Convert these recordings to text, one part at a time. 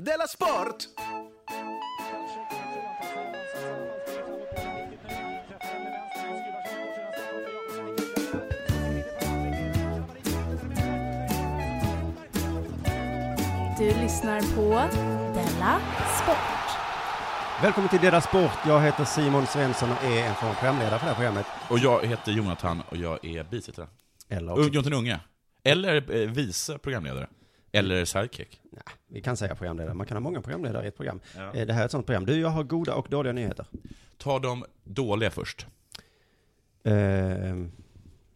Della Sport! Du lyssnar på Della Sport. Välkommen till Dela Sport. Jag heter Simon Svensson och är en programledare för det här programmet. Och jag heter Jonathan och jag är bisittare. Eller Okay. Jonathan Unge. Eller eh, vice programledare. Eller sidekick. Nej, vi kan säga programledare. Man kan ha många programledare i ett program. Eh, Det här är ett sånt program. Du, jag har goda och dåliga nyheter. Ta de dåliga först. Eh,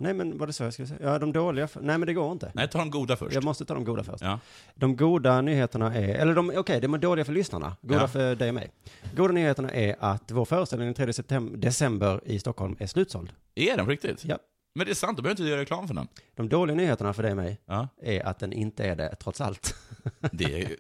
nej, men var det så jag skulle säga? Ja, de dåliga. f- Nej, men det går inte. Nej, ta de goda först. Jag måste ta de goda först. Ja. De goda nyheterna är, eller de, okej, de är dåliga för lyssnarna, goda Ja. för dig och mig. Goda nyheterna är att vår föreställning den 3 septem- december i Stockholm är slutsåld. Är den på riktigt? Ja. Men det är sant, du behöver inte göra reklam för den. De dåliga nyheterna för dig och mig Ja. är att den inte är det, trots allt. Det är,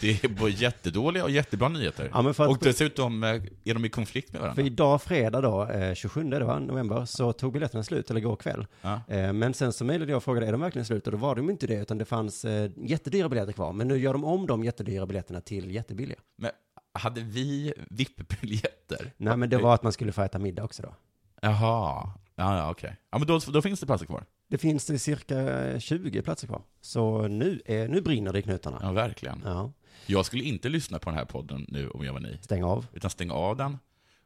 det är både jättedåliga och jättebra nyheter. Ja, men för att- Och dessutom eh, är de i konflikt med varandra. För idag, fredag då, eh, 27 det var, november, så tog biljetterna slut, eller igår kväll. Ja. Eh, Men sen så mejlade jag och frågade, är de verkligen slut? Och då var de inte det, utan det fanns eh, jättedyra biljetter kvar. Men nu gör de om de jättedyra biljetterna till jättebilliga. Men hade vi VIP-biljetter? Nej, men det var att man skulle få äta middag också då. Jaha. Ja, ja, okej. Ja, men då, då finns det platser kvar. Det finns eh, cirka eh, 20 platser kvar. Så nu, är, nu brinner det i knutarna. Ja, verkligen. Ja, Jag skulle inte lyssna på den här podden nu om jag var ni. stäng av. Utan stäng av den,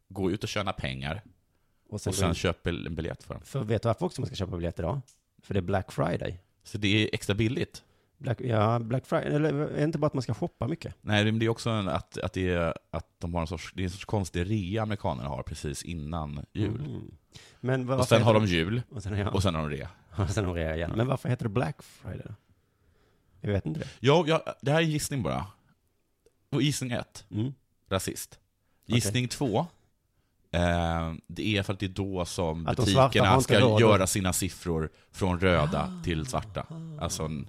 gå ut och tjäna pengar Och sen, och sen gå in. köp en biljett för den. För vet du varför också man ska köpa biljett idag? För det är Black Friday. Så det är extra billigt. Black, ja, Black Friday, eller är det inte bara att man ska shoppa mycket? Nej, men det är också en, att, att, det är, att de har en sorts, det är en sorts konstig rea amerikanerna har precis innan jul. Mm. Men varför Och sen har heter de jul, det- Och sen, ja. och sen har de rea. Och sen har jag igen. Men varför heter det Black Friday då? Jag vet inte det. Ja, ja, det här är gissning bara. Och gissning ett, Mm. rasist. Okej. Gissning två, eh, det är för att det är då som Att de svarta har butikerna inte ska råd. Ah. göra sina siffror från röda till svarta. Alltså en,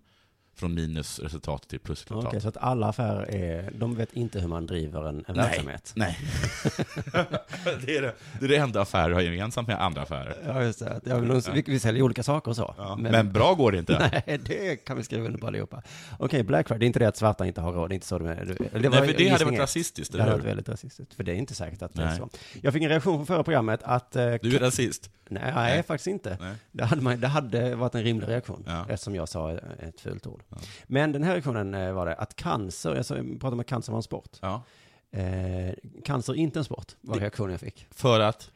från minusresultat till Okej, plusresultat. så att alla affärer är, de vet inte hur man driver en, en verksamhet. Nej. det, är det, det är det enda affärer har gemensamt med andra affärer. Ja, just det. Ja, men de, vi, vi säljer olika saker och så. Men, bra går det inte. Nej, Nej, det kan vi skriva under på allihopa. Okej, Black Friday, det är inte det att svarta inte har råd, det är inte så det är. Det, det var för det hade gissning varit ett. rasistiskt, Det hade eller varit hur? väldigt rasistiskt, för det är inte säkert att det är Nej. så. Jag fick en reaktion från förra programmet att... Eh, Du är rasist. nej, Nej. faktiskt inte. Nej. Det hade, man, det hade varit en rimlig reaktion, Ja. eftersom jag sa ett fult ord. Men den här reaktionen eh, var det, att cancer, jag sa- jag pratade om att cancer var en sport. Ja. Eh, cancer är inte en sport, var reaktionen jag fick. För att?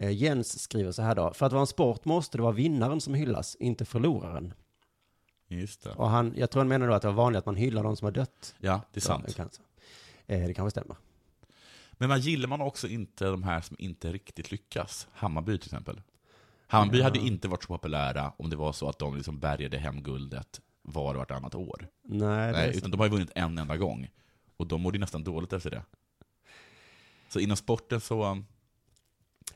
Eh, Jens skriver så här då, för att vara en sport måste det vara vinnaren som hyllas, inte förloraren. Just det. Och han, jag tror han menar då att det var vanligt att man hyllar de som har dött. Ja, det är av sant. Cancer. Eh, det kanske stämmer. Men man gillar man också inte de här som inte riktigt lyckas. Hammarby till exempel. Hammarby hade inte varit så populära om det var så att de liksom bärgade hem guldet var och vartannat år. Nej, det är Nej, sant. utan de har ju vunnit en enda gång. Och de mådde ju nästan dåligt efter det. Så inom sporten så...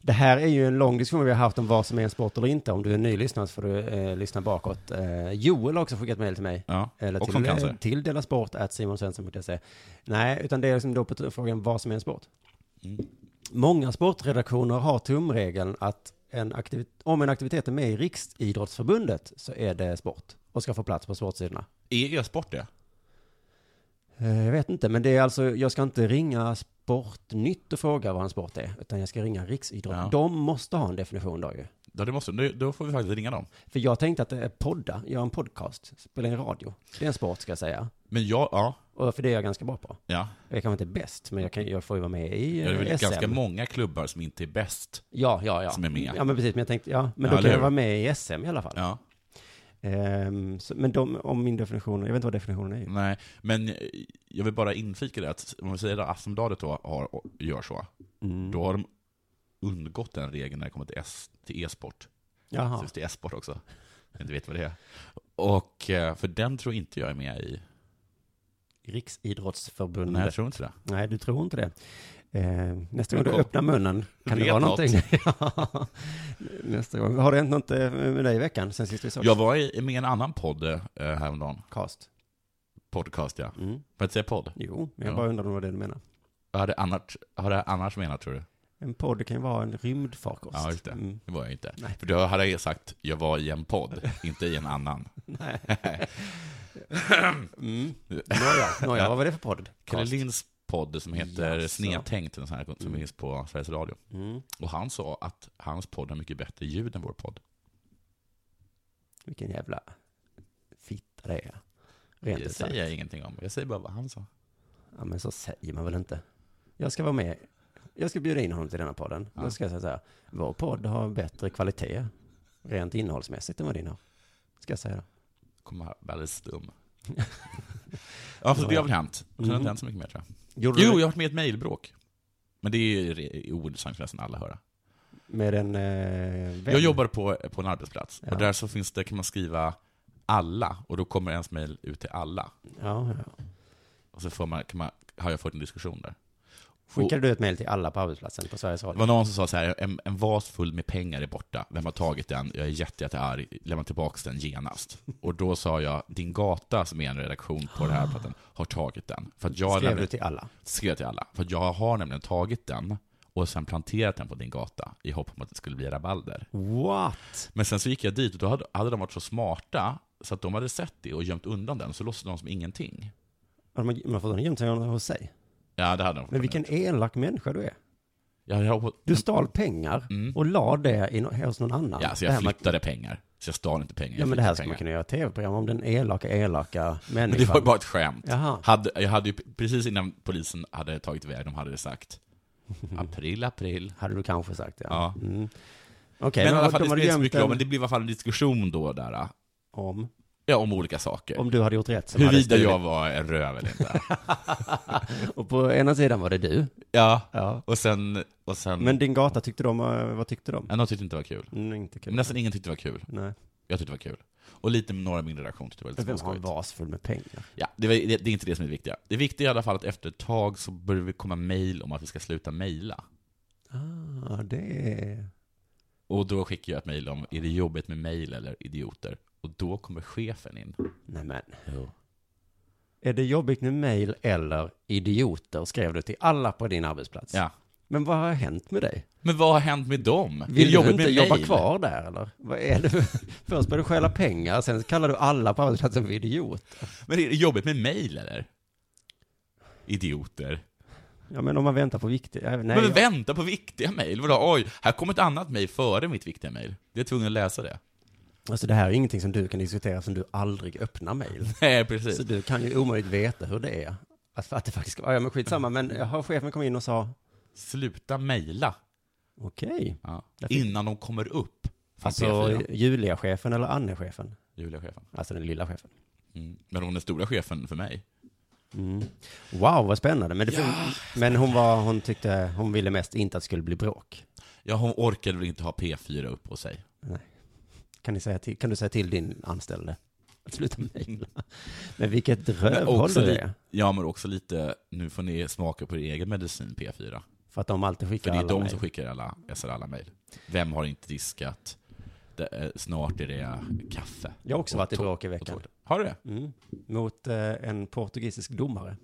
Det här är ju en lång diskussion vi har haft om vad som är en sport eller inte. Om du är ny lyssnare så får du eh, lyssna bakåt. Eh, Joel har också skickat mejl till mig. Ja, Eller också om till, eh, cancer. till Dela Sport, att simonsvensson.se. Nej, utan det är liksom då på t- frågan vad som är en sport. Mm. Många sportredaktioner har tumregeln att en aktivit- om en aktivitet är med i Riksidrottsförbundet så är det sport och ska få plats på sportsidorna. Är e-sport det? Eh, Jag vet inte, men det är alltså, jag ska inte ringa Sportnytt och fråga vad en sport är, utan jag ska ringa Riksidrott. Ja. De måste ha en definition då ju. Ja, det måste, nu- då får vi faktiskt ringa dem. För jag tänkte att det är podda, göra en podcast, spela in radio. Det är en sport ska jag säga. Men jag, ja, Och för det är jag ganska bra på. ja. Jag kanske inte är bäst, men jag, kan, jag får ju vara med i Det är eh, väl SM. ganska många klubbar som inte är bäst. ja, ja, ja. som är med. Ja, men precis. Men jag tänkte, ja, men då Ja, eller kan jag hur? vara med i SM i alla fall. Ja, Ehm, så, men de, om min definition, jag vet inte vad definitionen är. nej. Men eh, jag vill bara infika det att om vi säger att Aftonbladet då har, och gör så, Mm. då har de undgått den regeln när det kommer till S- till e-sport. Jaha. Så det är e-sport också. Jag inte vet vad det är. Och, eh, för den tror inte jag är med i. Riksidrottsförbundet. Nej, jag tror inte det. Nej, du tror inte det. Eh, nästa gång du Kom. öppnar munnen kan det Vet vara något. någonting. Ja. nästa gång. Har det hänt något eh, med dig i veckan sen sist vi såg? Jag var i- med i en annan podd eh, häromdagen. Cast. Podcast, ja. Får Mm. jag inte säga podd? Jo, men jag Ja. bara undrar om vad det är du menar. Vad hade annars, har det annars menat, tror du? En podd kan ju vara en rymdfarkost. Ja, just det. Mm. Det var jag inte. Nej. För då hade jag sagt, jag var i en podd, inte i en annan. Mm. Nåja, nåja, vad var det för podd? Kalle Linds podd som heter Jaså. Snedtänkt, en sån här, som finns på Sveriges Radio. Mm. Och han sa att hans podd har mycket bättre ljud än vår podd. Vilken jävla fitta det är. Rent det ut säger sagt. jag ingenting om. Jag säger bara vad han sa. Ja, men så säger man väl inte. Jag ska vara med. Jag ska bjuda in honom till denna podden. Då ska jag säga så här. Vår podd har bättre kvalitet rent innehållsmässigt än vad din har. Ska jag säga då. Kommer vara väldigt stum. ja, så det har väl hänt. Sen har Mm. det inte hänt så mycket mer tror jag. Gjorde Jo, du jag har varit med i ett mejlbråk. Men det är ju re- ointressant för nästan alla att höra. med en eh, vän? Jag jobbar på, på en arbetsplats Ja. och där så finns det, kan man skriva alla och då kommer ens mejl ut till alla. Ja, ja. Och så får man, kan man, har jag fått en diskussion där. Skickade du ett mejl till alla på arbetsplatsen på Sveriges Det Radio? var någon som sa så här, en, en vas full med pengar är borta, vem har tagit den? Jag är jätte, jättearg, lämna tillbaka den genast. Och då sa jag, din gata som är en redaktion på den här plattan har tagit den. För att jag Ah. Skrev du nämligen- till alla? skrev till alla, för att jag har nämligen tagit den och sen planterat den på din gata i hopp om att det skulle bli rabalder. What? Men sen så gick jag dit och då hade, hade de varit så smarta så att de hade sett det och gömt undan den, så låtsades de som ingenting. Har de- Man får ta en gömma hos sig. Ja, det hade de. Men vilken elak människa du är. Ja, jag, Du stal pengar och la det i, no- hos någon annan. Mm. ja, så Det jag här med- flyttade pengar. Så jag stal inte pengar. jag Ja, men det här flyttade ska man pengar. kunna göra ett tv-program om den elaka, elaka Men det var ju människan. bara ett skämt. Jaha. Hade, jag hade ju, precis innan polisen hade tagit iväg dem hade det sagt april, april. Hade du kanske sagt det. Ja. Mm. Okej, men i alla men fall, det de hade spelar inte så gömt mycket den roll, men det blev i alla fall en diskussion då där. om, Ja, om olika saker. om du hade gjort rätt. som hade Huruvida stulit. jag var en röv eller inte. Och på ena sidan var det du. ja. Ja. Och sen, och sen... Men din gata tyckte de, eh, vad tyckte de? Ja, någon tyckte inte det var kul. Mm, inte kul. Men nästan ingen tyckte det var kul. Nej. Jag tyckte det var kul. Och lite med några i min redaktion tyckte det var lite Vem har en småskojigt. vas full med pengar? Ja, det, var, det, det är inte det som är det viktiga. Det viktiga är i alla fall att efter ett tag så börjar vi komma mejl om att vi ska sluta mejla. Ah, det är... Och då skickar jag ett mejl om, är det jobbigt med mejl eller idioter? Och då kommer chefen in. Nej men. Är det jobbigt med mejl eller idioter? Skrev du till alla på din arbetsplats. Ja. Men vad har hänt med dig? Men vad har hänt med dem? Är det Vill du jobbigt inte med jobba mejl? kvar där eller? Vad är det? Först börjar du stjäla pengar, sen kallar du alla på arbetsplatsen för idiot. Men är det jobbigt med mejl eller? Idioter. Ja men om man väntar på viktigt. Nej, men jag- vänta på viktiga mejl. Vadå, oj, här kom ett annat mejl före mitt viktiga mejl. Jag är tvungen att läsa det. Alltså det här är ingenting som du kan diskutera som du aldrig öppnar mejl. Nej, Så precis. du kan ju omöjligt veta hur det är. Att, att det faktiskt ska vara, ja men skitsamma, men jaha, chefen kom in och sa Sluta mejla. okej. Ja. Därför- Innan de kommer upp. Fast Alltså P4. Julia-chefen eller Anne-chefen? Julia-chefen. Alltså den lilla chefen. Mm. Men hon är stora chefen för mig. Mm. Wow, vad spännande. Men, det, men hon, var, hon tyckte, hon ville mest inte att det skulle bli bråk. Ja, hon orkade väl inte ha P4 upp på sig. Kan, ni säga till, kan du säga till din anställde att sluta mejla? Men vilket rövhåll också du li- är. ja, men också lite, nu får ni smaka på er egen medicin P4. För att de alltid För skickar det är alla de mejl. som skickar alla, SR alla mejl. Vem har inte diskat? Det, eh, snart är det kaffe. Jag har också varit i Och to- bråk i och veckan. tårta. Har du det? Mm. Mot eh, en portugisisk domare.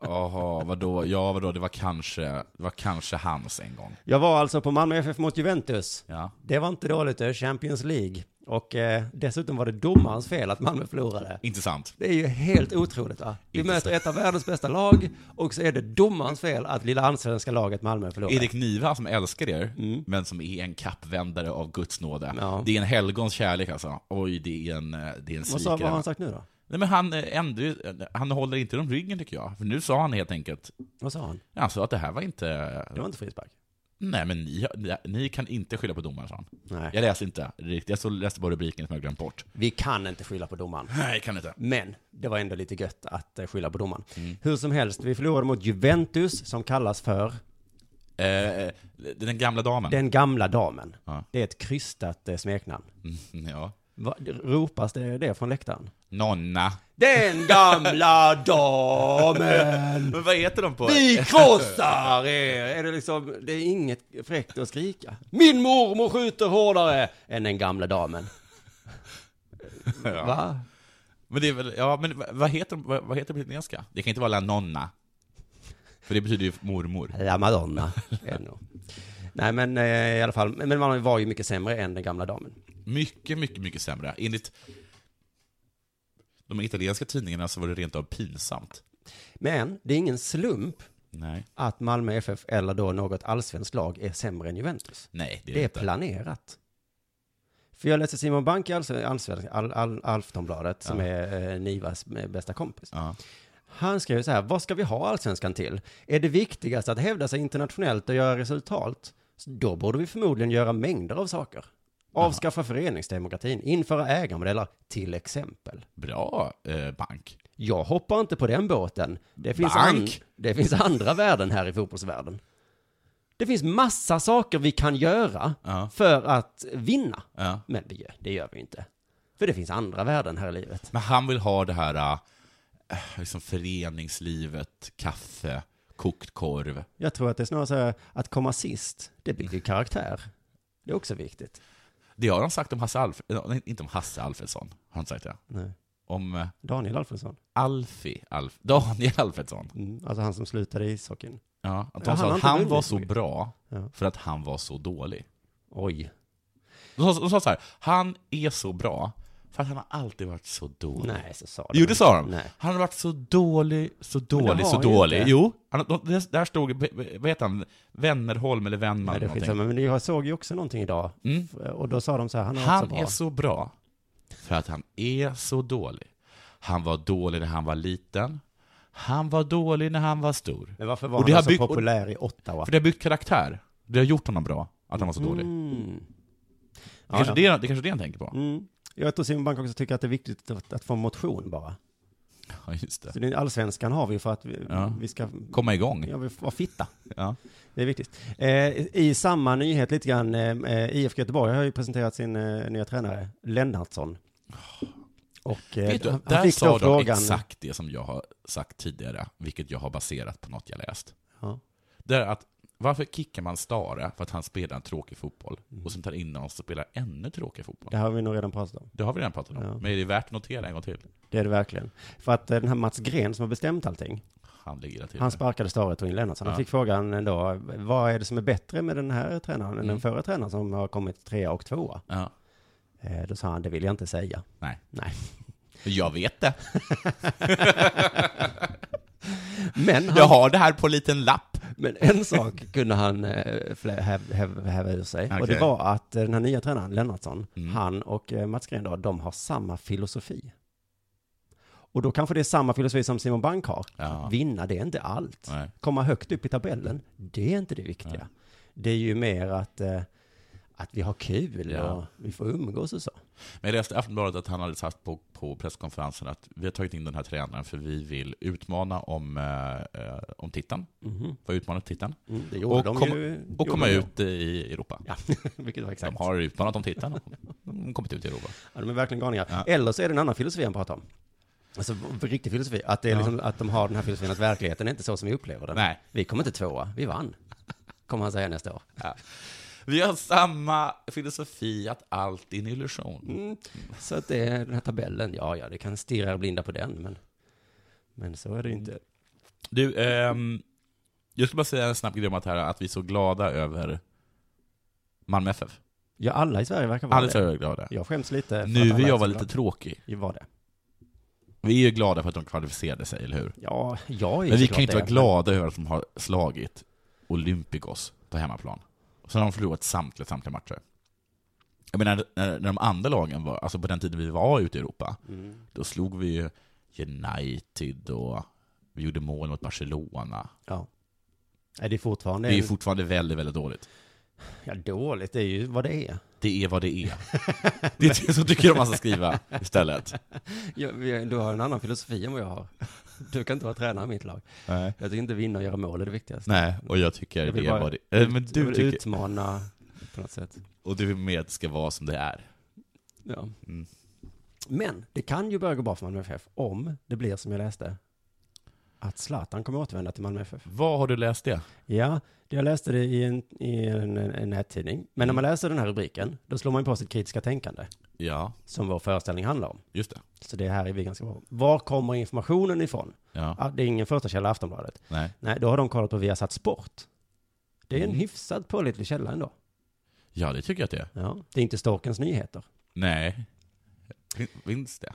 Jaha, vadå? Ja, vadå? Det var kanske, det var kanske hans en gång. Jag var alltså på Malmö FF mot Juventus. Ja. Det var inte dåligt, det är Champions League. Och eh, dessutom var det domarens fel att Malmö förlorade. Intressant. Det är ju helt otroligt va? Vi Inte möter ett av världens bästa lag och så är det domarens fel att lilla allsvenska laget Malmö förlorar. Erik Niva som älskar er, men som är en kappvändare av Guds nåde. Mm. Ja. Det är en helgons kärlek alltså. Oj, det är en, eh, det är en Vad, sa, vad svikare. har han sagt nu då? Nej, men han, eh, ändrar ju- han håller inte om ryggen tycker jag. För nu sa han helt enkelt, Vad sa han? alltså att det här var inte... Det var inte frispark. Nej, men ni, ni, ni kan inte skylla på domaren, sa han. Nej. Jag läste inte riktigt, jag så läste bara rubriken som jag glömt bort. Vi kan inte skylla på domaren. Nej, kan inte. Men det var ändå lite gött att eh, skylla på domaren. Hur som helst, vi förlorade mot Juventus som kallas för Eh, den gamla damen. den gamla damen. Ja. Det är ett krystat eh, smeknamn. Mm, ja. Va, ropas det det från läktaren? Nonna. Den gamla damen! Men vad heter de på... Vi krossar er! Är det, liksom, det är inget fräckt att skrika. Min mormor skjuter hårdare än den gamla damen. Ja. Va? Men det är väl, ja men vad heter de, vad vad heter de på italienska? Det kan inte vara la nonna. För det betyder ju mormor. La Madonna. Ännu. Nej men eh, i alla fall, men man var ju mycket sämre än den gamla damen. Mycket, mycket, mycket sämre. Enligt de italienska tidningarna så var det rent av pinsamt. Men det är ingen slump Nej, att Malmö FF eller då något allsvenskt lag är sämre än Juventus. Nej det är Det är inte. planerat. För jag läste Simon Bank i Allsven- Allsven- All- All- Alftonbladet, som är eh, Nivas eh, bästa kompis. Ja. Han skrev så här, vad ska vi ha allsvenskan till? Är det viktigast att hävda sig internationellt och göra resultat? Så Då borde vi förmodligen göra mängder av saker. Avskaffa föreningsdemokratin, införa ägarmodeller, till exempel. Bra eh, bank. Jag hoppar inte på den båten. Det finns, an- Bank! det finns andra värden här i fotbollsvärlden. Det finns massa saker vi kan göra Ja. för att vinna. Ja. Men vi, gör- det gör vi inte. För det finns andra värden här i livet. Men han vill ha det här eh, liksom föreningslivet, kaffe, kokt korv. Jag tror att det är snarare så här, att komma sist, det bygger karaktär. Det är också viktigt. Det har han sagt om Hasse Alfredsson, nej, inte om Hasse Alfredsson, har han sagt det? Nej. Om eh, Daniel Alfredsson, Alfie, Alf, Daniel Alfredsson. mm, alltså han som slutade i ishockeyn. Ja, att Ja, de han sa har att inte han vunnit var så så mycket. bra Ja. för att han var så dålig. Oj. De sa, de sa så här, han är så bra för att han har alltid varit så dålig. Nej, så sa de. Jo, det sa de. Nej. Han har varit så dålig, så det dålig, har så han ju dålig. inte. Jo, han, de- det- där stod, vad heter han, Vännerholm eller Vennman Nej, det eller är någonting. skitsamma. Men jag såg ju också någonting idag. eh, Mm. Och då sa de så här, han är också Han bra. är så bra för att han är så dålig. Han var dålig när han var liten. Han var dålig när han var stor. Men varför var Och han det då har så byggt- och- populär i Ottawa? För det har byggt karaktär. Det har gjort honom bra, att han var så dålig. Mm. Det Ja, kanske, ja. det, det kanske är det han tänker på. Mm. Jag tror Simon Bank också tycker att det är viktigt att, att få motion bara. Ja, just det. Så den allsvenskan har vi för att vi, Ja. vi ska Komma igång. ja, vi får vara fitta. Ja. Det är viktigt. Eh, I samma nyhet lite grann, eh, eh, IFK Göteborg har ju presenterat sin eh, nya tränare, Lennartsson. Och eh, Vet du, han, där han fick sa då de frågan, exakt det som jag har sagt tidigare, vilket jag har baserat på något jag läst. Ja. Det är att, varför kickar man Stare för att han spelar en tråkig fotboll, Mm. och sen tar in någon som spelar ännu tråkigare fotboll? det har vi nog redan pratat om. Det har vi redan pratat om, Ja. men är det värt att notera en gång till? Det är det verkligen. För att eh, den här Mats Gren som har bestämt allting, Han ligger där till. han sparkade Stare och tog in Lennartsson. Han Ja. fick frågan då, vad är det som är bättre med den här tränaren än den Mm. förra tränaren som har kommit trea och tvåa? ja. Eh, Då sa han, det vill jag inte säga. Nej. Nej. Jag vet det. Men, han, Jag har det här på en liten lapp. men en sak kunde han eh, flä- häv- häv- häva ur sig. Och det Okej. var att eh, den här nya tränaren, Lennartsson, Mm. han och eh, Mats Green då, de har samma filosofi. Och då kanske det är samma filosofi som Simon Bank har. Ja. Vinna, det är inte allt. Nej. Komma högt upp i tabellen, det är inte det viktiga. Nej. Det är ju mer att, eh, att vi har kul Ja. och vi får umgås och så. Men jag läste i Aftonbladet att han hade sagt på, på presskonferensen att vi har tagit in den här tränaren för vi vill utmana om, eh, eh, om titeln. Mhm. Vad utmanat titeln? Mm, det gjorde Och de kom- ju. Och gjorde komma de ju. ut i Europa. Ja, vilket var exakt. De har utmanat om titeln och de har kommit ut i Europa. Ja, de är verkligen galningar. Ja. Eller så är det en annan filosofi han pratar om. Alltså v- riktig filosofi, att, det är Ja. liksom, att de har den här filosofin att verkligheten är inte så som vi upplever den. Nej. Vi kommer inte tvåa, vi vann. Kommer han säga nästa år. Vi har samma filosofi att allt är en illusion. Mm. Så att det är den här tabellen, ja ja, det kan stirra er blinda på den, men, men så är det ju inte. Du, ehm, jag skulle bara säga en snabb grej om att, här, att vi är så glada över Malmö FF. Ja, alla i Sverige verkar vara Alla är det. så glada. Jag skäms lite. för att Nu alla vill är jag så vara glada. lite tråkig. Jag var det. Vi är ju glada för att de kvalificerade sig, eller hur? Ja, jag är Men vi såklart kan ju inte det, vara glada över att de har slagit Olympikos på hemmaplan. Och sen har de förlorat samtliga, samtliga matcher. Jag menar, när, när de andra lagen var, alltså på den tiden vi var ute i Europa, Mm. då slog vi ju United och vi gjorde mål mot Barcelona. Ja. Nej, det är fortfarande... Det är ju fortfarande väldigt, väldigt dåligt. ja, dåligt, det är ju vad det är. Det är vad det är. Det är så tycker jag man ska skriva istället. Jag, vi- du har en annan filosofi än vad jag har. Du kan inte vara tränare i mitt lag. Nej. Jag tycker inte vinna och göra mål är det viktigaste. Nej, och jag tycker Jag vill det är bara vad det är. Men Jag du vill tycker, utmana på något sätt. och du vill med att det ska vara som det är. Ja. Mm. Men det kan ju börja gå bra för Malmö FF om det blir som jag läste. att Zlatan kommer återvända till Malmö FF. Vad har du läst det? Ja, det- jag läste det i en, i en, en, en nättidning. Men Mm. när man läser den här rubriken, då slår man ju på sitt kritiska tänkande, Ja, som vår föreställning handlar om. just det. Så det här är vi ganska bra på. Var kommer informationen ifrån? Ja, Ja, det är ingen första källa Aftonbladet. nej. Nej, då har de kollat på Viasat Sport. Det är en Mm. hyfsad pålitlig källa ändå. ja det tycker jag att det är. Ja, det är inte Storkens nyheter. Nej. Fin- Finns det?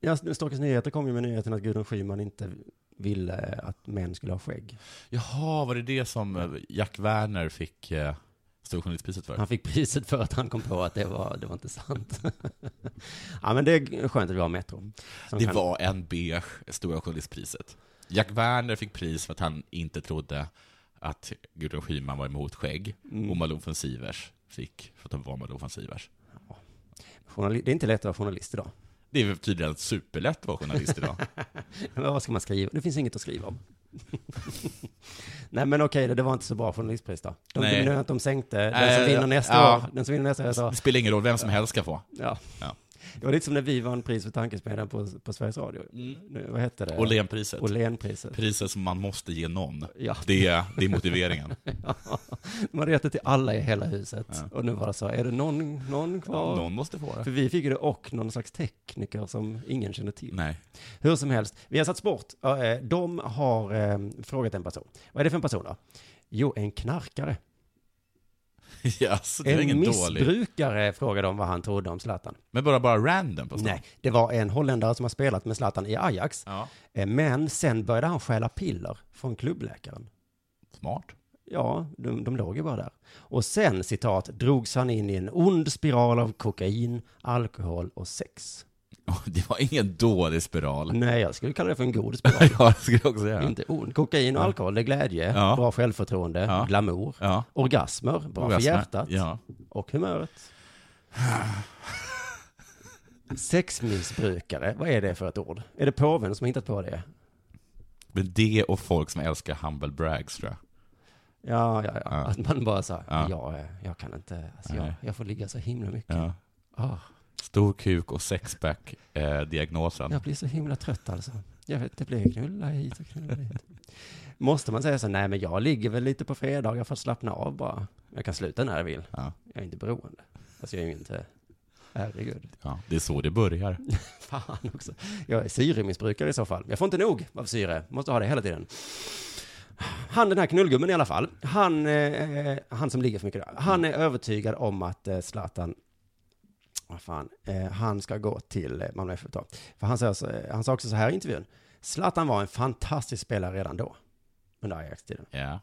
Ja, Storkens nyheter kom ju med nyheten att Gudrun Schyman inte ville att män skulle ha skägg. Jaha, var det det som eh, Jack Werner fick eh, Storjournalistpriset för? Han fick priset för att han kom på att det var, det var inte sant. ja, men det är skönt att vi har Metro. som Det kan- var en beige Stora Journalistpriset. Jack Werner fick pris för att han inte trodde att Gudrun Schyman var emot skägg. Mm. Och Malou von Sivers fick för att hon var Malou von Sivers. Journali- det är inte lätt att vara journalist idag. Det är väl tydligen superlätt att vara journalist idag. Men vad ska man skriva? Det finns inget att skriva om. Nej men okej, det- det var inte så bra journalistpris då. De, Nej. Nej. att de sänkte, den som Eh, vinner nästa ja. år, den som vinner nästa år, så, Det spelar ingen roll, vem som helst ska få. ja. Ja. Det var lite som när vi vann pris för tankesmedjan på, på Sveriges Radio. Mm. Nu, vad hette det? Åhlénpriset. Åhlénpriset. Priset som man måste ge någon. Ja. Det är, det är motiveringen. De hade gett det till alla i hela huset. Ja. Och nu var det så, är det någon, någon kvar? Någon måste få För det. vi fick ju det och någon slags tekniker som ingen kände till. Nej. Hur som helst, vi har satt sport. Ja, eh, De har eh, frågat en person. Vad är det för en person då? Jo, en knarkare. Yes, det är En ingen dålig. missbrukare frågade de vad han trodde om Zlatan. Men bara, bara random på stan. Nej, det var en holländare som har spelat med Zlatan i Ajax. Ja. Eh, Men sen började han stjäla piller från klubbläkaren. Smart. Ja, de, de låg ju bara där. Och sen, citat, drogs han in i en ond spiral av kokain, alkohol och sex. Ja, Det var ingen dålig spiral. Nej, jag skulle kalla det för en god spiral. Ja, det skulle jag också säga. Mm. Inte ond. Kokain och alkohol, det är glädje, Ja. bra självförtroende, Ja. glamour. Ja. Orgasmer, bra för Orgasmer. hjärtat Ja. och humöret. Sexmissbrukare, vad är det för ett ord? Är det påven som har hittat på det? Men det och folk som älskar humble brags tror jag. Ja, ja, ja. Ja. Att man bara så här, Ja. jag, eh, jag kan inte, alltså, jag, Nej. jag får ligga så himla mycket. Ja. Ah, Stor kuk och sexpack, eh, diagnosen. jag blir så himla trött alltså. Jag vet, det blir knulla hit och knulla dit. Måste man säga så, nej men jag ligger väl lite på fredagar för att slappna av bara. Jag kan sluta när jag vill. Ja. Jag är inte beroende. Alltså jag är ju inte, herregud. Ja. Det är så det börjar. Fan också. Jag är syremissbrukare i så fall. Jag får inte nog av syre. Måste ha det hela tiden. Han den här knullgummen i alla fall. Han, eh, han som ligger för mycket där. Han är övertygad om att eh, Zlatan vad fan, eh, han ska gå till eh, Malmö FF då. För han, säger så, eh, han sa också så här i intervjun. Zlatan var en fantastisk spelare redan då. Under Ajax-tiden. Ja.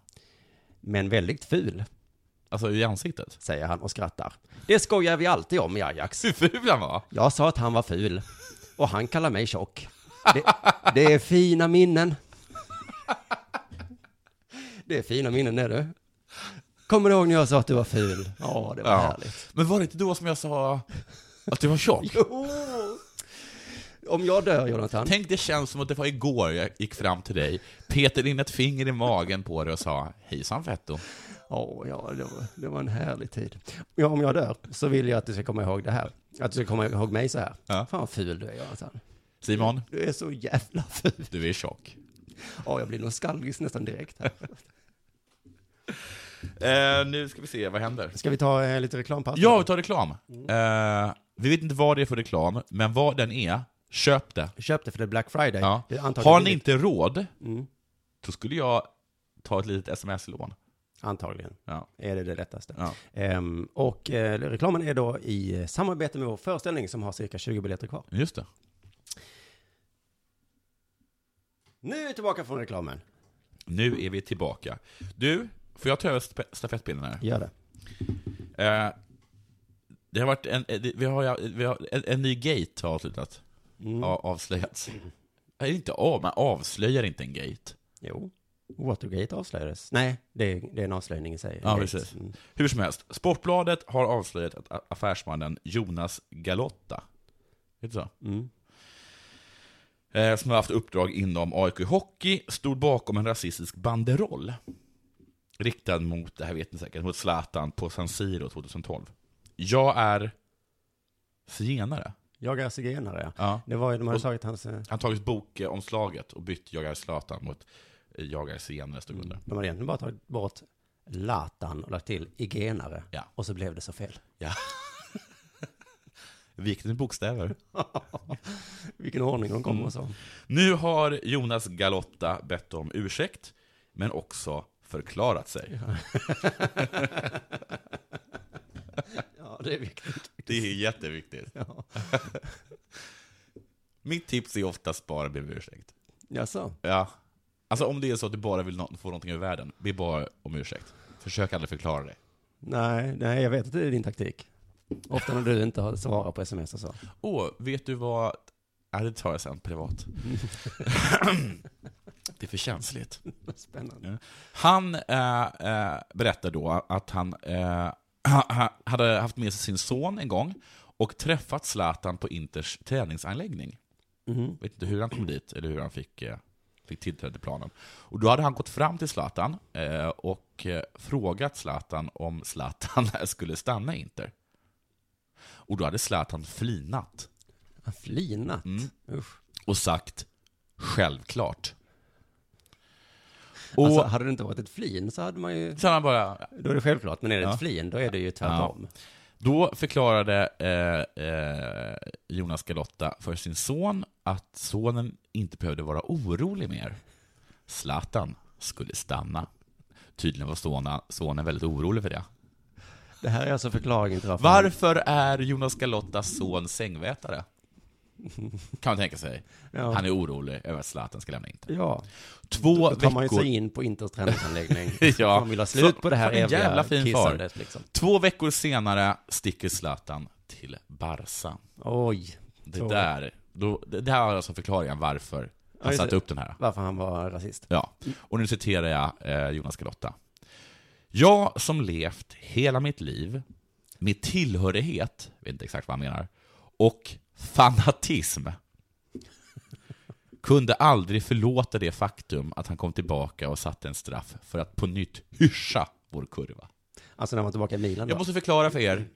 Men väldigt ful, Alltså i ansiktet. säger han och skrattar. Det skojar vi alltid om i Ajax. Hur ful han var! Jag sa att han var ful och han kallar mig tjock. Det, det är fina minnen. Det är fina minnen, är du. Kommer du ihåg när jag sa att du var ful? Ja, det var Ja. härligt. Men var det inte då som jag sa att du var tjock? Jo. Om jag dör, Jonathan. Tänk det känns som att det var igår jag gick fram till dig, petade in ett finger i magen på dig och sa hejsan fetto. Åh, ja, det var, det var en härlig tid. Ja, om jag dör så vill jag att du ska komma ihåg det här. Att du ska komma ihåg mig så här. Ja. Fan vad ful du är, Jonathan. Simon, Du är så jävla ful. du är tjock. Ja, jag blir nostalgisk nästan direkt här. Eh, nu ska vi se, vad händer? Ska vi ta eh, lite reklampaus? Ja, vi tar reklam. Eh, vi vet inte vad det är för reklam, men vad den är, köp det. Köp det för det är Black Friday. Ja. Det är antagligen Har ni billigt. inte råd, Mm. då skulle jag ta ett litet sms-lån. Antagligen Ja. är det det lättaste. Ja. Ehm, och eh, reklamen är då i samarbete med vår föreställning som har cirka 20 biljetter kvar. Just det. Nu är vi tillbaka från reklamen. Nu är vi tillbaka. Du, får jag ta över spe- stafettpinnen här? Gör det. Eh, det har varit en, eh, det- vi har, vi har, en, en ny gate har avslutat. Mm. A- avslöjats. Nej, inte av, man avslöjar inte en gate. Jo. Watergate avslöjades. Nej, det är, det är en avslöjning i sig. Ja, Gate. precis. Mm. Hur som helst, Sportbladet har avslöjat att a- affärsmannen Jonas Galotta, heter det så? Mm. eh, som har haft uppdrag inom AIK Hockey, stod bakom en rasistisk banderoll riktad mot, det här vet ni säkert, mot Zlatan på San Siro 2012. Jag är zigenare. Jag är zigenare, ja. Ja. Det var ju, de hade Och- slagit hans... eh, Han har tagit bokomslaget och bytt Jag är Zlatan mot eh, Jag är senare stod under. De hade egentligen bara tagit bort Latan och lagt till igenare. Ja. Och så blev det så fel. Ja. Vikten i bokstäver. Vilken ordning de Mm. kommer och så. Nu har Jonas Galotta bett om ursäkt, men också förklarat sig. Ja, det är viktigt. Det är jätteviktigt. Ja. Mitt tips är oftast bara be om ursäkt. Jaså? Ja. Alltså om det är så att du bara vill nå- få någonting ur världen, be bara om ursäkt. Försök aldrig förklara dig. Nej, nej, jag vet att det är din taktik. Ofta när du inte har svarat på sms och så. Åh, vet du vad... Ja, det tar jag sen privat. det är för känsligt. Spännande. Han eh, eh, berättar då att han eh, ha- hade haft med sig sin son en gång och träffat Zlatan på Inters träningsanläggning. Mhm. vet inte hur han kom dit eller hur han fick, eh, fick tillträde till planen. Och då hade han gått fram till Zlatan eh, och eh, frågat Zlatan om Zlatan skulle stanna i Inter. Och då hade Zlatan flinat Han flinat. Mm. Usch. och sagt självklart. Och Och alltså, hade det inte varit ett flin så hade man ju... sen han bara, Då är det självklart, men är det Ja. ett flin, då är det ju tvärtom. Då förklarade eh, eh, Jonas Galotta för sin son att sonen inte behövde vara orolig mer. Zlatan skulle stanna. Tydligen var sonen, sonen väldigt orolig för det. Det här är alltså förklaringen till varför... Varför är Jonas Galottas son sängvätare? Kan man tänka sig. Ja. Han är orolig över att Zlatan ska lämna Inter. Ja, Två då tar man ju sig veckor, in på Inters träningsanläggning. Ja. Man vill ha slut på det här Som en eviga jävla fin far. kissandet liksom. två veckor senare sticker Zlatan till Barca. Oj, Det Så. där, då, det, det här är alltså förklaringen varför han just satte det. upp den här. varför han var rasist. Ja, och nu citerar jag eh, Jonas Galotta. Jag som levt hela mitt liv med tillhörighet, jag vet inte exakt vad han menar, och fanatism kunde aldrig förlåta det faktum att han kom tillbaka och satte en straff för att på nytt hyscha vår kurva. Alltså när man var tillbaka i Milan då. Jag måste förklara för er.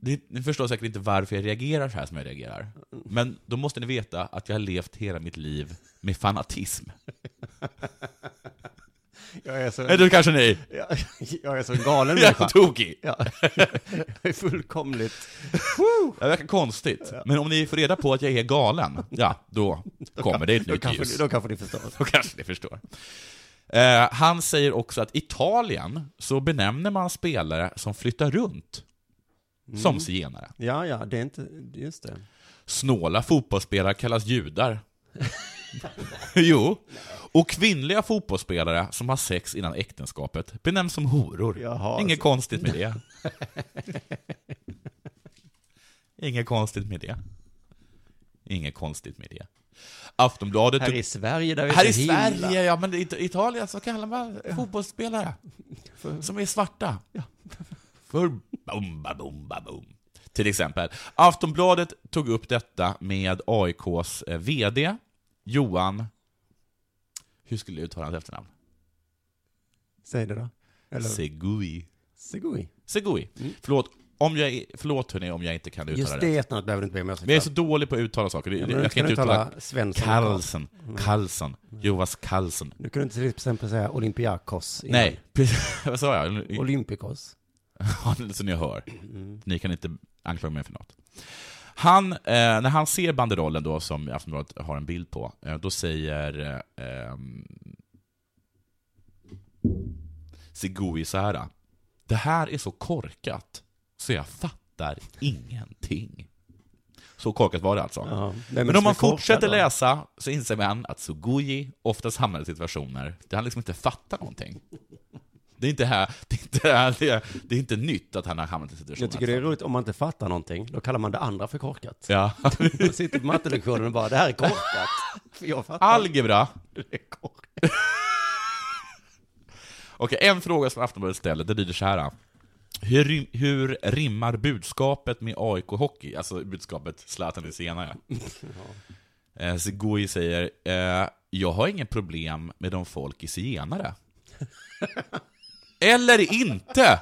Ni, ni förstår säkert inte varför jag reagerar så här som jag reagerar. Men då måste ni veta att jag har levt hela mitt liv med fanatism. Jag är så, Eller då kanske ni? jag, jag är så galen Jag är människa. tokig! Ja. Jag är fullkomligt... Jag verkar konstigt. Men om ni får reda på att jag är galen, ja, då kommer det ett Då nytt kanske, ljus. då kanske ni förstår. Då kanske ni förstår. Eh, han säger också att Italien så benämner man spelare som flyttar runt som zigenare. Ja, ja, det är inte... Just det. Snåla fotbollsspelare kallas judar. jo. Och kvinnliga fotbollsspelare som har sex innan äktenskapet benämns som horor. Jaha, Inget så- konstigt med det. Inget konstigt med det. Inget konstigt med det. Aftonbladet... Här i Sverige där vi är Här i så himla- Sverige, ja, men i It- Italien så kallar man fotbollsspelare som är svarta. För bom, ba, bom, ba, bom. Till exempel. Aftonbladet tog upp detta med AIKs eh, VD, Johan... Hur skulle jag uttala hans efternamn? Säg det då. Eller... Segui. Segui. Segui. Förlåt, om jag, är- förlåt hörni, om jag inte kan uttala Mm. Just det. det efternamnet behöver du inte be om ursäkt Men jag är så för. dålig på att uttala saker. Ja, men nu jag kan kan du inte uttala... uttala Mm. Svensson. Carlsen, Carlsen, Jonas Carlsen. Nu kan du inte till exempel säga Olympiakos. innan. Nej, precis. vad sa jag? Olympikos. Ja, så ni hör. Ni kan inte anklaga mig för något. Han, eh, när han ser banderollen då, som Aftonbladet har en bild på, eh, då säger eh, ehm, Segui så här. Det här är så korkat, så jag fattar ingenting. Så korkat var det alltså. Ja. Men om man fortsätter läsa så inser man att Suguji oftast hamnar i situationer där han liksom inte fattar någonting. Det är inte, här, det är inte, här, det är, det är inte nytt att han har hamnat i situationer. Jag tycker det är roligt om man inte fattar någonting, då kallar man det andra för korkat. alltså. Ja. Man sitter på mattelektionen och bara, det här är korkat. För jag fattar Algebra. inte det är korkat. Okej, en fråga som Aftonbladet ställer, det lyder så här. Hur, rim- hur rimmar budskapet med AIK Hockey? Alltså budskapet Zlatan är senare. Eh, Segui säger, eh, jag har ingen problem med de folk i zigenare. Eller inte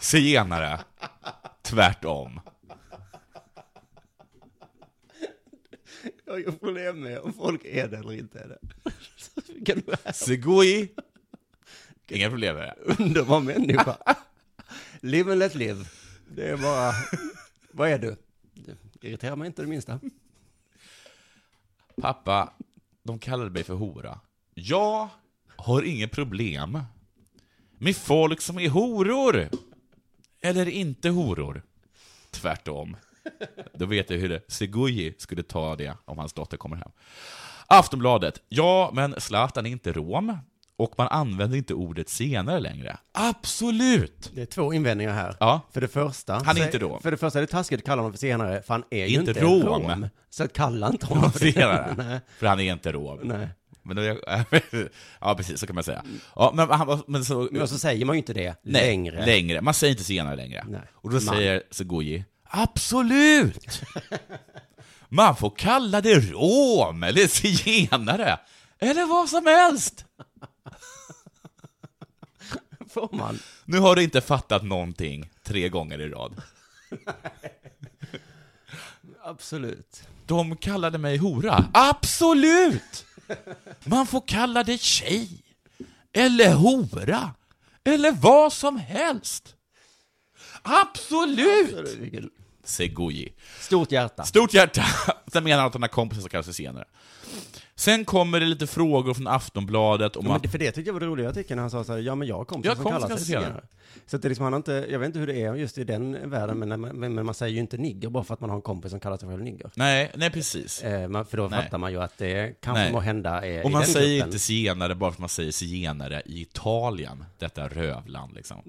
zigenare. Tvärtom. Jag har ju problem med om folk är det eller inte är det. Så Vilken Segui! Inga problem med det. underbar människa. Live and let live. Det är bara, vad är du? Det irriterar mig inte det minsta. Pappa, de kallade mig för hora. Jag har inget problem med folk som är horor. Eller inte horor. Tvärtom. Då vet jag hur det, Seguyi skulle ta det om hans dotter kommer hem. Aftonbladet. Ja, men Zlatan är inte rom. Och man använder inte ordet senare längre. Absolut! Det är två invändningar här. Ja. För det första. Han är så- inte rom. För det första är det taskigt att kalla honom för senare, för han är ju Inte inte, rom. Så att kalla inte honom för det. Senare. Nej. För han är inte rom. Nej. Men då är jag, ja, precis, så kan man säga. Ja, men, han var- men så, Men så säger man ju inte det Nej, längre. längre. Man säger inte senare längre. Nej. Och då säger Segoji, absolut! Man får kalla det rom eller zigenare, eller vad som helst. Får man? Nu har du inte fattat någonting tre gånger i rad. Absolut. De kallade mig hora. Absolut! Man får kalla det tjej, eller hora, eller vad som helst. Absolut! Vilken- Segoji. Stort hjärta. Stort hjärta! Sen menar han att han har kompisar som kallar sig senare. Sen kommer det lite frågor från Aftonbladet om Ja, men att... det, för det tyckte jag var det roliga i artikeln, när han sa så här, ja men jag har kompisar Jag har som kompisar kallar sig som kallar sig zigenare. Så att det är liksom, han har inte, jag vet inte hur det är just i den världen, men, när man- men, men man säger ju inte nigger bara för att man har en kompis som kallar sig själv nigger. Nej, nej precis. Eh, man, för då Nej. fattar man ju att det kanske Nej. må hända eh, Och i man den säger gruppen. inte zigenare bara för att man säger zigenare i Italien, detta rövland liksom.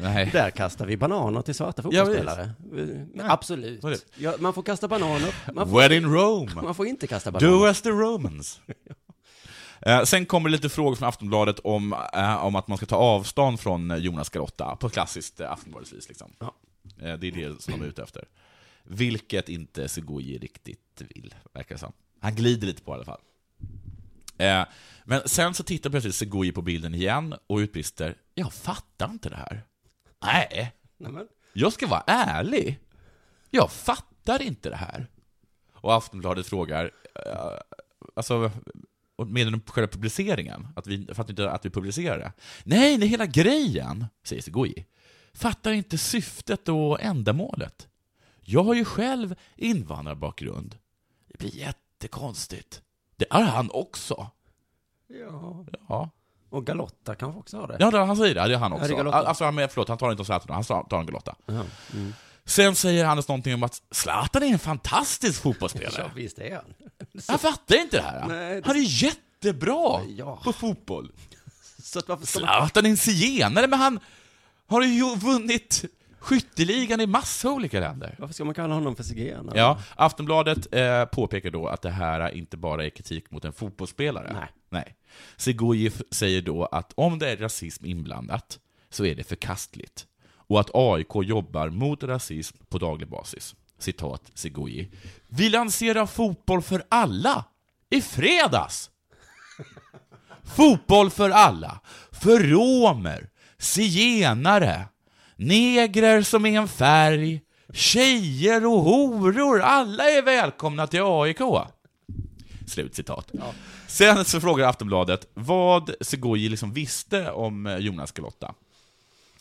Nej. Där kastar vi bananer till svarta Ja, fotbollsspelare. Eh, Absolut. absolut. Ja, man får kasta bananer, man får, Where in Rome? man får inte kasta bananer. Do as the Romans. Eh, Sen kommer lite frågor från Aftonbladet om, eh, om att man ska ta avstånd från eh, Jonas Garotta, på klassiskt eh, Aftonbladets vis. Liksom. Ja. Eh, Det är det som de är ute efter. Vilket inte Segoji riktigt vill, verkar det som. Han glider lite på det i alla fall. Eh, Men sen så tittar plötsligt Segoji på bilden igen och utbrister Jag fattar inte det här. Nej, Nej, men, jag ska vara ärlig. Jag fattar inte det här. Och Aftonbladet frågar, eh, alltså, och menar de själva publiceringen? Att vi fattar inte att vi publicerar det? Nej, det är hela grejen, säger Segoji. Fattar inte syftet och ändamålet. Jag har ju själv invandrarbakgrund. Det blir jättekonstigt. Det har han också. ja. Ja, Och Galotta kanske också har det. ja det- han säger det. Det har han Ja, det också. är galotta. alltså, han, men förlåt, han tar inte om Zlatan, han tar en Galotta. Ja. Mm. Sen säger Hannes någonting om att Zlatan är en fantastisk ja, fotbollsspelare. visst är han. Han fattar inte det här. Nej, det- Han är jättebra Ja. på fotboll. Så att varför ska man... Zlatan är en zigenare, men han har ju vunnit skytteligan i massa olika länder. Varför ska man kalla honom för zigenare? Ja, Aftonbladet eh, påpekar då att det här inte bara är kritik mot en fotbollsspelare. Nej. Nej. Segoji f- säger då att om det är rasism inblandat så är det förkastligt. Och att AIK jobbar mot rasism på daglig basis. Citat Segoji. Vi lanserar fotboll för alla! I fredags! Fotboll för alla! För romer, zigenare, negrer som är en färg, tjejer och horor, alla är välkomna till AIK! Slutcitat. Sen så frågar Aftonbladet vad Segoji liksom visste om eh, Jonas Galotta.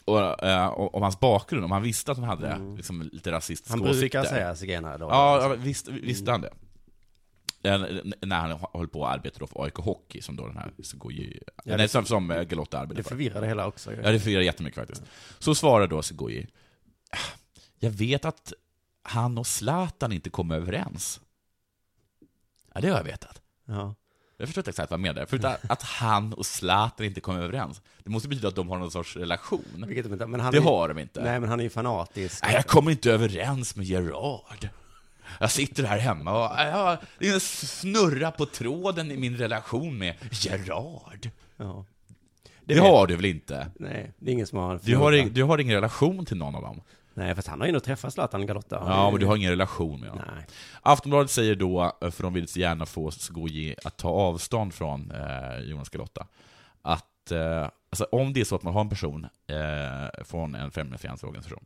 Och, eh, och- om hans bakgrund, om han visste att han hade liksom, lite rasistiska Mm. Han åsikter. brukar säga zigenare då. Ja, ja, visst, visste han det. Eh, n- När han höll på att arbeta då för AIK Hockey, som då den här så går ju, det- nej, som, som eh, Galotta arbetar Det för. förvirrar det hela också. ju. Ja, det förvirrar jättemycket faktiskt. Så svarar då Segoji, "Ah, jag vet att han och Zlatan inte kom överens. Ja, det har jag vetat. Ja. Jag förstår inte exakt vad han menar, förutom att han och Zlatan inte kom överens. Det måste betyda att de har någon sorts relation. Vilket de inte, men han Det är, har de inte. Nej, men han är ju fanatisk. Nej, jag kommer inte överens med Gerard. Jag sitter här hemma och jag det är en snurra på tråden i min relation med Gerard. Ja. Det, har du väl inte? Nej, det är ingen som har en Du har, förmåga. ing- du har ingen relation till någon av dem? Nej, fast han har ju nog träffat Zlatan Galotta. Ja, men du har ingen relation med honom. Nej. Aftonbladet säger då, eh, för de vill så gärna få Skoji att ta avstånd från eh, Jonas Galotta, att eh, alltså, om det är så att man har en person eh, från en främlingsfientlig organisation,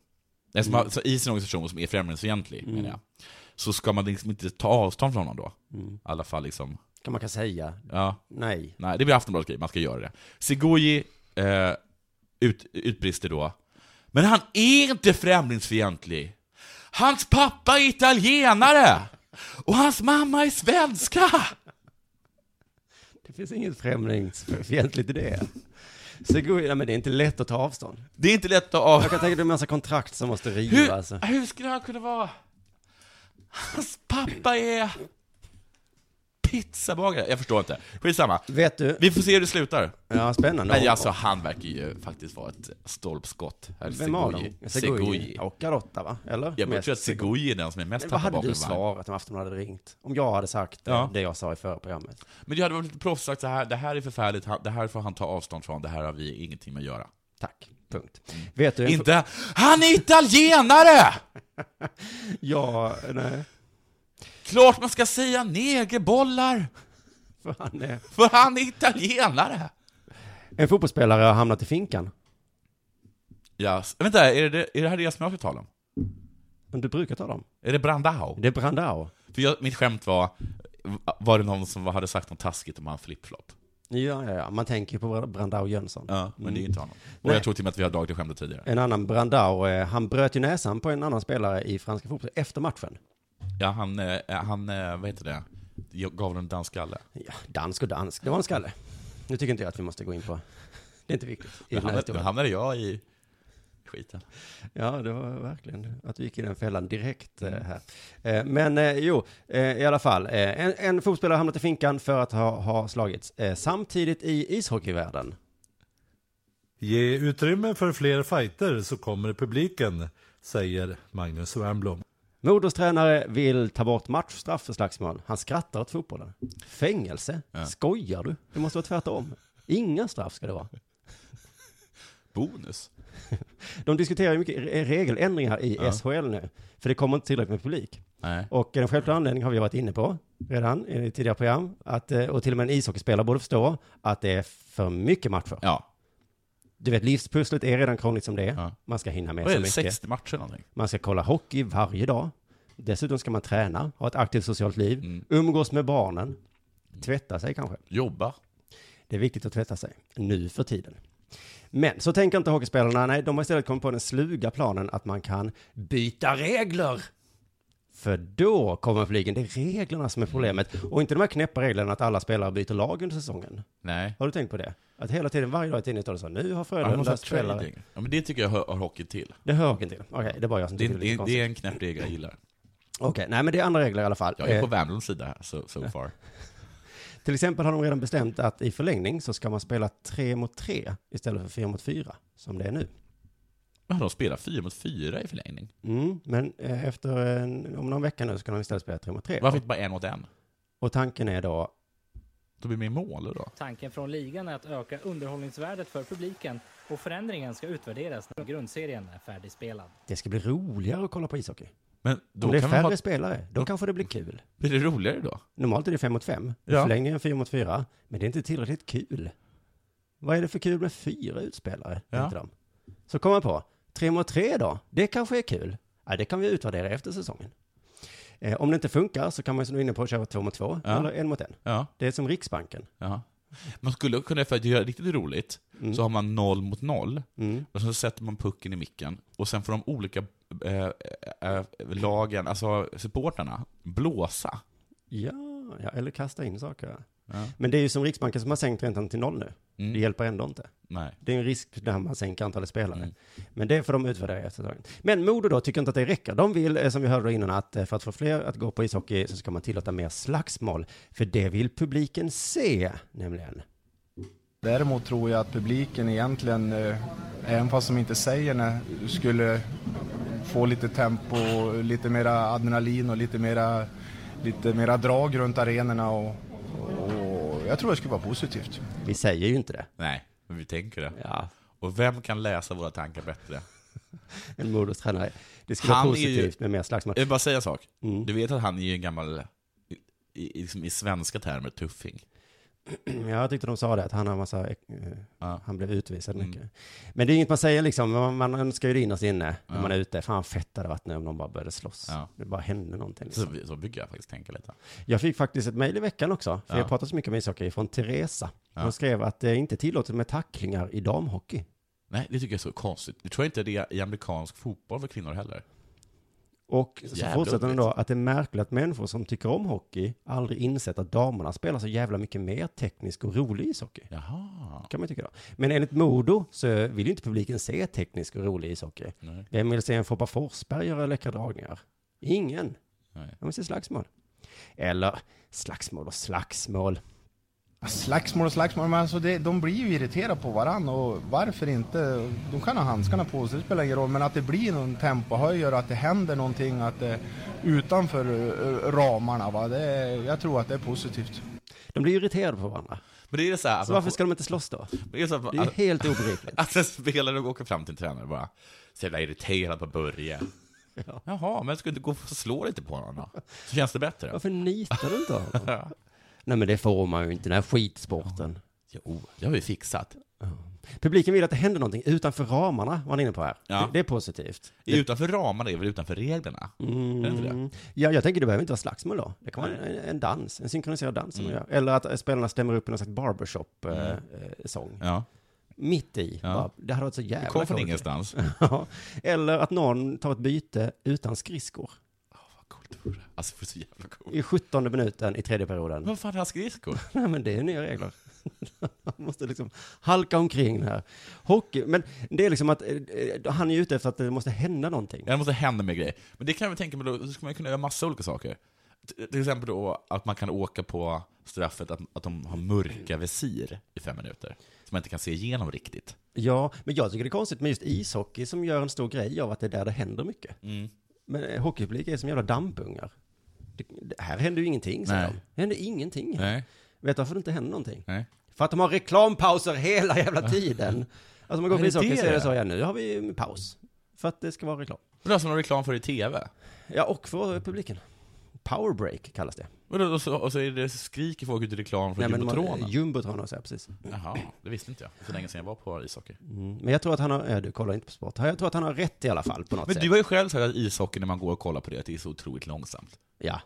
Eftersom man- så I sin organisation som är främlingsfientlig, menar jag. Så ska man liksom inte ta avstånd från honom då. I alla fall liksom, Mm. Kan man kan säga. ja. Nej. Nej, det blir Aftonbladet grej, man ska göra det. Sigurgi eh, ut, utbrister då. Men han är inte främlingsfientlig! Hans pappa är italienare! Och hans mamma är svenska! Det finns inget främlingsfientligt i det. Sigurd, nej men det är inte lätt att ta avstånd. Det är inte lätt att av... Jag kan tänka mig att det är en massa kontrakt som måste rivas. Alltså. Hur, hur skulle han kunna vara... Hans pappa är... Pizzabagare? Jag förstår inte. Skitsamma. Vet du? Vi får se hur det slutar. Ja, spännande. Nej, alltså han verkar ju faktiskt vara ett stolpskott. Här, Vem av dem? Segugi. Segugi. Segugi. Och Garotta, va? Eller? Jag Mest tror att Segui är den som är mest Vad tappad hade bakom du vagn. svarat om Aftonbladet hade ringt? Om jag hade sagt eh, Ja. det jag sa i förra programmet. Men det hade varit lite proffsigt, så här, det här är förfärligt, han- det här får han ta avstånd från, det här har vi ingenting med att göra. Tack. Punkt. Vet du? en fr- Inte, han är italienare! Ja, nej. Klart man ska säga negerbollar, För han är... för han är italienare! En fotbollsspelare har hamnat i finkan. Ja, s- vänta, är det, är det här det som jag ska tala om? Men du brukar ta dem. Är det Brandao? Det är Brandao. För jag, mitt skämt var, var det någon som hade sagt något taskigt om han flipflop? Mm. Ja, ja, ja. Man tänker ju på Brandao Jönsson. Ja, men det är inte honom. Och Nej. jag tror till och med att vi har dragit det skämtet tidigare. En annan Brandao, eh, han bröt ju näsan på en annan spelare i franska fotbollen efter matchen. Ja, han, eh, han, eh, vad heter det, jag gav honom en dansskalle. Ja, dansk och dansk, det var en skalle. Nu tycker inte jag att vi måste gå in på... Det är inte viktigt. i den här Nu hamnade, nu historien. hamnade jag i skiten. Ja, det var verkligen att vi gick i den fällan direkt eh, här. Eh, Men eh, jo, eh, i alla fall. eh, En, en fotbollsspelare har hamnat i finkan för att ha, ha slagits. Eh, Samtidigt i ishockeyvärlden. Ge utrymme för fler fighter så kommer publiken, säger Magnus Wernbloom. Modos tränare vill ta bort matchstraff för slagsmål. Han skrattar åt fotbollen. Fängelse? Skojar du? Det måste vara tvärtom. Inga straff ska det vara. Bonus? De diskuterar ju mycket re- regeländringar i SHL nu, för det kommer inte tillräckligt med publik. Nej. Och en självklar anledning har vi varit inne på redan i tidigare program, att, eh, och till och med en ishockeyspelare borde förstå att det är för mycket matcher. Ja. Du vet, livspusslet är redan krångligt som det är. Ja. Man ska hinna med Vad så är det, mycket. 60 matcher någonting? Man ska kolla hockey varje dag. Dessutom ska man träna, ha ett aktivt socialt liv, Mm. umgås med barnen, tvätta sig kanske. Jobba? Det är viktigt att tvätta sig, nu för tiden. Men så tänker inte hockeyspelarna, nej, de har istället kommit på den sluga planen att man kan byta regler. För då kommer publiken, det är reglerna som är problemet. Och inte de här knäppa reglerna att alla spelare byter lag under säsongen. Nej. Har du tänkt på det? Att hela tiden, varje dag i tidningen står det så, nu har Ja, någon Frölunda slags spelare. trading. Ja, men det tycker jag hör, hör hockey till. Det hör inte till. Okej, det är bara jag som Det, tycker det är det, lite det konstigt. är en knäpp regel jag gillar. Okej, nej men det är andra regler i alla fall. Jag är på Eh, Wernbloms sida här, so, so far. Till exempel har de redan bestämt att i förlängning så ska man spela tre mot tre istället för fyra mot fyra som det är nu. Men de spelar 4 mot 4 i förlängning. Mm, men eh, efter en, om någon vecka nu så kan de istället spela tre mot tre. Varför inte bara en mot en? Och tanken är då, Då blir det mer mål då. Tanken från ligan är att öka underhållningsvärdet för publiken och förändringen ska utvärderas när grundserien är färdigspelad. det ska bli roligare att kolla på ishockey. Men Om då det är kan man färre ha, spelare, då kanske det blir kul. blir det roligare då? Normalt är det fem mot fem, i Ja. förlängningen fyra mot fyra, men det är inte tillräckligt kul. Vad är det för kul med fyra utspelare? Ja. tänkte de. Så kom man på, tre mot tre då, det kanske är kul. Ja, det kan vi utvärdera efter säsongen. Eh, om det inte funkar så kan man som du är inne på köra två mot två, Ja. eller en mot en. Ja. Det är som Riksbanken. ja. Man skulle kunna, för att göra det riktigt roligt, så har man noll mot noll. Mm. Och så sätter man pucken i micken. Och sen får de olika eh, eh, lagen, alltså supportrarna, blåsa. Ja, ja, eller kasta in saker. Ja. Men det är ju som Riksbanken som har sänkt räntan till noll nu. Mm. Det hjälper ändå inte. Nej. Det är en risk när man sänker antalet spelare. Mm. Men det får de utvärdera efter säsongen. Men Modo då tycker inte att det räcker. De vill, eh, som vi hörde innan, att eh, för att få fler att gå på ishockey så ska man tillåta mer slagsmål. För det vill publiken se, nämligen. Däremot tror jag att publiken egentligen, eh, även fast de inte säger det, skulle få lite tempo, och lite mera adrenalin och lite mera, lite mera drag runt arenorna. Och, och jag tror det skulle vara positivt. Vi säger ju inte det. Nej, men vi tänker det. Ja. Och vem kan läsa våra tankar bättre? En Modos tränare. Det skulle vara Han är ju- positivt med mer slagsmål. Jag vill bara säga en sak. Mm. Du vet att han är ju en gammal, i, i, liksom i svenska termer, tuffing. Mm, Jag tyckte de sa det, att han har massa, eh, Ja. han blev utvisad Mm. mycket. Men det är inget man säger liksom, men man, man önskar ju det innerst inne när Ja. man är ute. Fan fett det hade varit nu om de bara började slåss. Ja. Det bara hände någonting. Så, Liksom. så brukar jag faktiskt tänka lite. Jag fick faktiskt ett mejl i veckan också, för Ja. jag pratar så mycket om ishockey, från Teresa. Ja. Hon skrev att det är inte tillåtet med tacklingar i damhockey. Nej, det tycker jag är så konstigt. Det tror jag inte det är i amerikansk fotboll för kvinnor heller. Och så Jävla fortsätter hon underligt. då att det är märkligt att människor som tycker om hockey aldrig insett att damerna spelar så jävla mycket mer teknisk och rolig ishockey. Jaha. Kan man tycka då. Men enligt Modo så vill ju inte publiken se teknisk och rolig ishockey. Nej. Vem vill se en Foppa Forsberg göra läckra dragningar? Ingen. Nej. De vill se slagsmål. Eller slagsmål och slagsmål. Slagsmål och slagsmål, men alltså det, de blir ju irriterade på varann och varför inte? De kan ha handskarna på sig, det spelar ingen roll, men att det blir någon tempohöjare, att det händer någonting att det, utanför eh, ramarna, va? Det, jag tror att det är positivt. De blir irriterade på varandra. Men det är så här, alltså, Så varför ska de inte slåss då? det är så här, Det är ju helt obegripligt. Att en spelare åker fram till en tränare och bara så jävla irriterad på Börje. Ja. Jaha, men ska du inte gå och slå lite på honom då? Så känns det bättre. Varför nitar du inte honom? Nej men det får man ju inte, den här skitsporten. Jo, oh, det har vi fixat. Publiken vill att det händer någonting utanför ramarna, var ni inne på här. Ja. Det, Mm. det är positivt. Är utanför ramarna är väl utanför reglerna? Är det inte det? Ja, jag tänker det behöver inte vara slagsmål då. Det kan vara en, en dans, en synkroniserad dans som man Mm. gör. Eller att eh, spelarna stämmer upp i någon slags barbershop-sång. Ja. Mitt i. Ja. Bara, det hade varit så jävla Kom från coolt. ingenstans. Ja. Eller att någon tar ett byte utan skridskor. Vad coolt det vore. Alltså, det är så jävla coolt. I 17 minuten i tredje perioden. Vad fan är han skridskor? Nej, men det är ju nya regler. Man måste liksom halka omkring här. Hockey, men det är liksom att eh, eh, han är ute efter att det måste hända någonting. Ja, Det måste hända med grejer. Men det kan jag väl tänka mig, då då skulle man kunna göra massa olika saker. T- Till exempel då att man kan åka på straffet att, att de har mörka visir i fem minuter. Som man inte kan se igenom riktigt. Ja, men jag tycker det är konstigt med just ishockey som gör en stor grej av att det är där det händer mycket. Mm. Men eh, hockeypublik är som jävla dampungar. Det, det, här händer ju ingenting, säger Nej. de. Det händer ingenting. här. Nej. Vet du varför det inte händer någonting? Nej. För att de har reklampauser hela jävla tiden. Alltså om man går Är på det ishockey det så är det det är? så, ja nu har vi en paus. För att det ska vara reklam. Men det är som de har reklam för i TV. Ja, och för publiken. Powerbreak kallas det. Och, då, och, så, och så är det skriker folk ut i reklam för men man- jumbotronen. Jumbotron också, ja, precis. Jaha, det visste inte jag. Det är Så länge sedan jag var på ishockey. Mm. Men jag tror att han har, ja, du kollar inte på sport. Jag tror att han har rätt i alla fall på något Men sätt. du har ju själv sagt att ishockey, när man går och kollar på det, att det är så otroligt långsamt. Ja.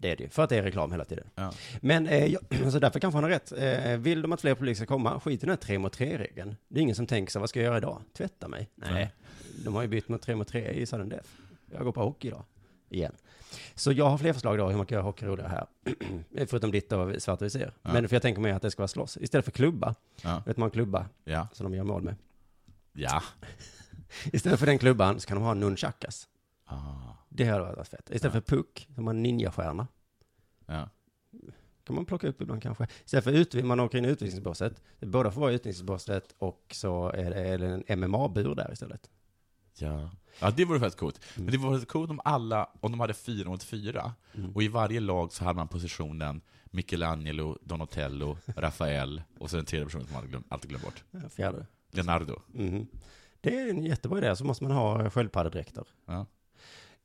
Det är det ju, för att det är reklam hela tiden. Ja. Men, eh, jag, så därför kanske han har rätt. Eh, vill de att fler publik ska komma, skit i den här 3 mot 3-regeln. Det är ingen som tänker sig, vad ska jag göra idag? Tvätta mig? Nej. Nej. De har ju bytt mot 3 mot 3 i sudden death. Jag går på hockey idag. Igen. Så jag har fler förslag då hur man kan göra hockey roligare här. Förutom ditt och svarta vi ser. Ja. Men för jag tänker mig att det ska vara slåss. Istället för klubba. Ja. Vet man klubba Ja. som de gör mål med. Ja. Istället för den klubban så kan de ha nunchakas. Ah. Det hade varit fett. Istället för puck, som har en ninjastjärna. ja. kan man plocka upp ibland kanske. Istället för utvi- man åker in i utvisningsbåset, det båda får vara i utvisningsbåset och så är det, är det en MMA-bur där istället. Ja. ja, det vore faktiskt coolt. Men det vore faktiskt coolt om alla, om de hade fyra mot fyra, och i varje lag så hade man positionen Michelangelo, Donatello, Rafael, och sen den tredje personen som man glöm, alltid glömt bort. Ja, Fjärde. Leonardo. Mhm. Det är en jättebra idé, så måste man ha eh, sköldpaddedräkter. Ja.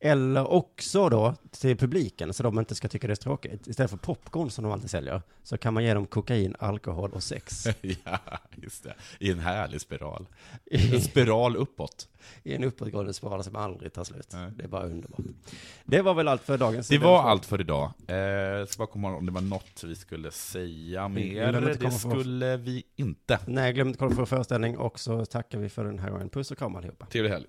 Eller också då till publiken, så de inte ska tycka det är tråkigt. Istället för popcorn som de alltid säljer, så kan man ge dem kokain, alkohol och sex. ja, just det. I en härlig spiral. En spiral uppåt. I en uppåtgående spiral som aldrig tar slut. Nej. Det är bara underbart. Det var väl allt för dagens... Det var allt för idag. Eh, jag ska bara komma ihåg om det var något vi skulle säga mer. glömde inte Det komma på- skulle vi inte. Nej, glöm inte kolla på vår föreställning och så tackar vi för den här gången. Puss och kram allihopa. Trevlig helg.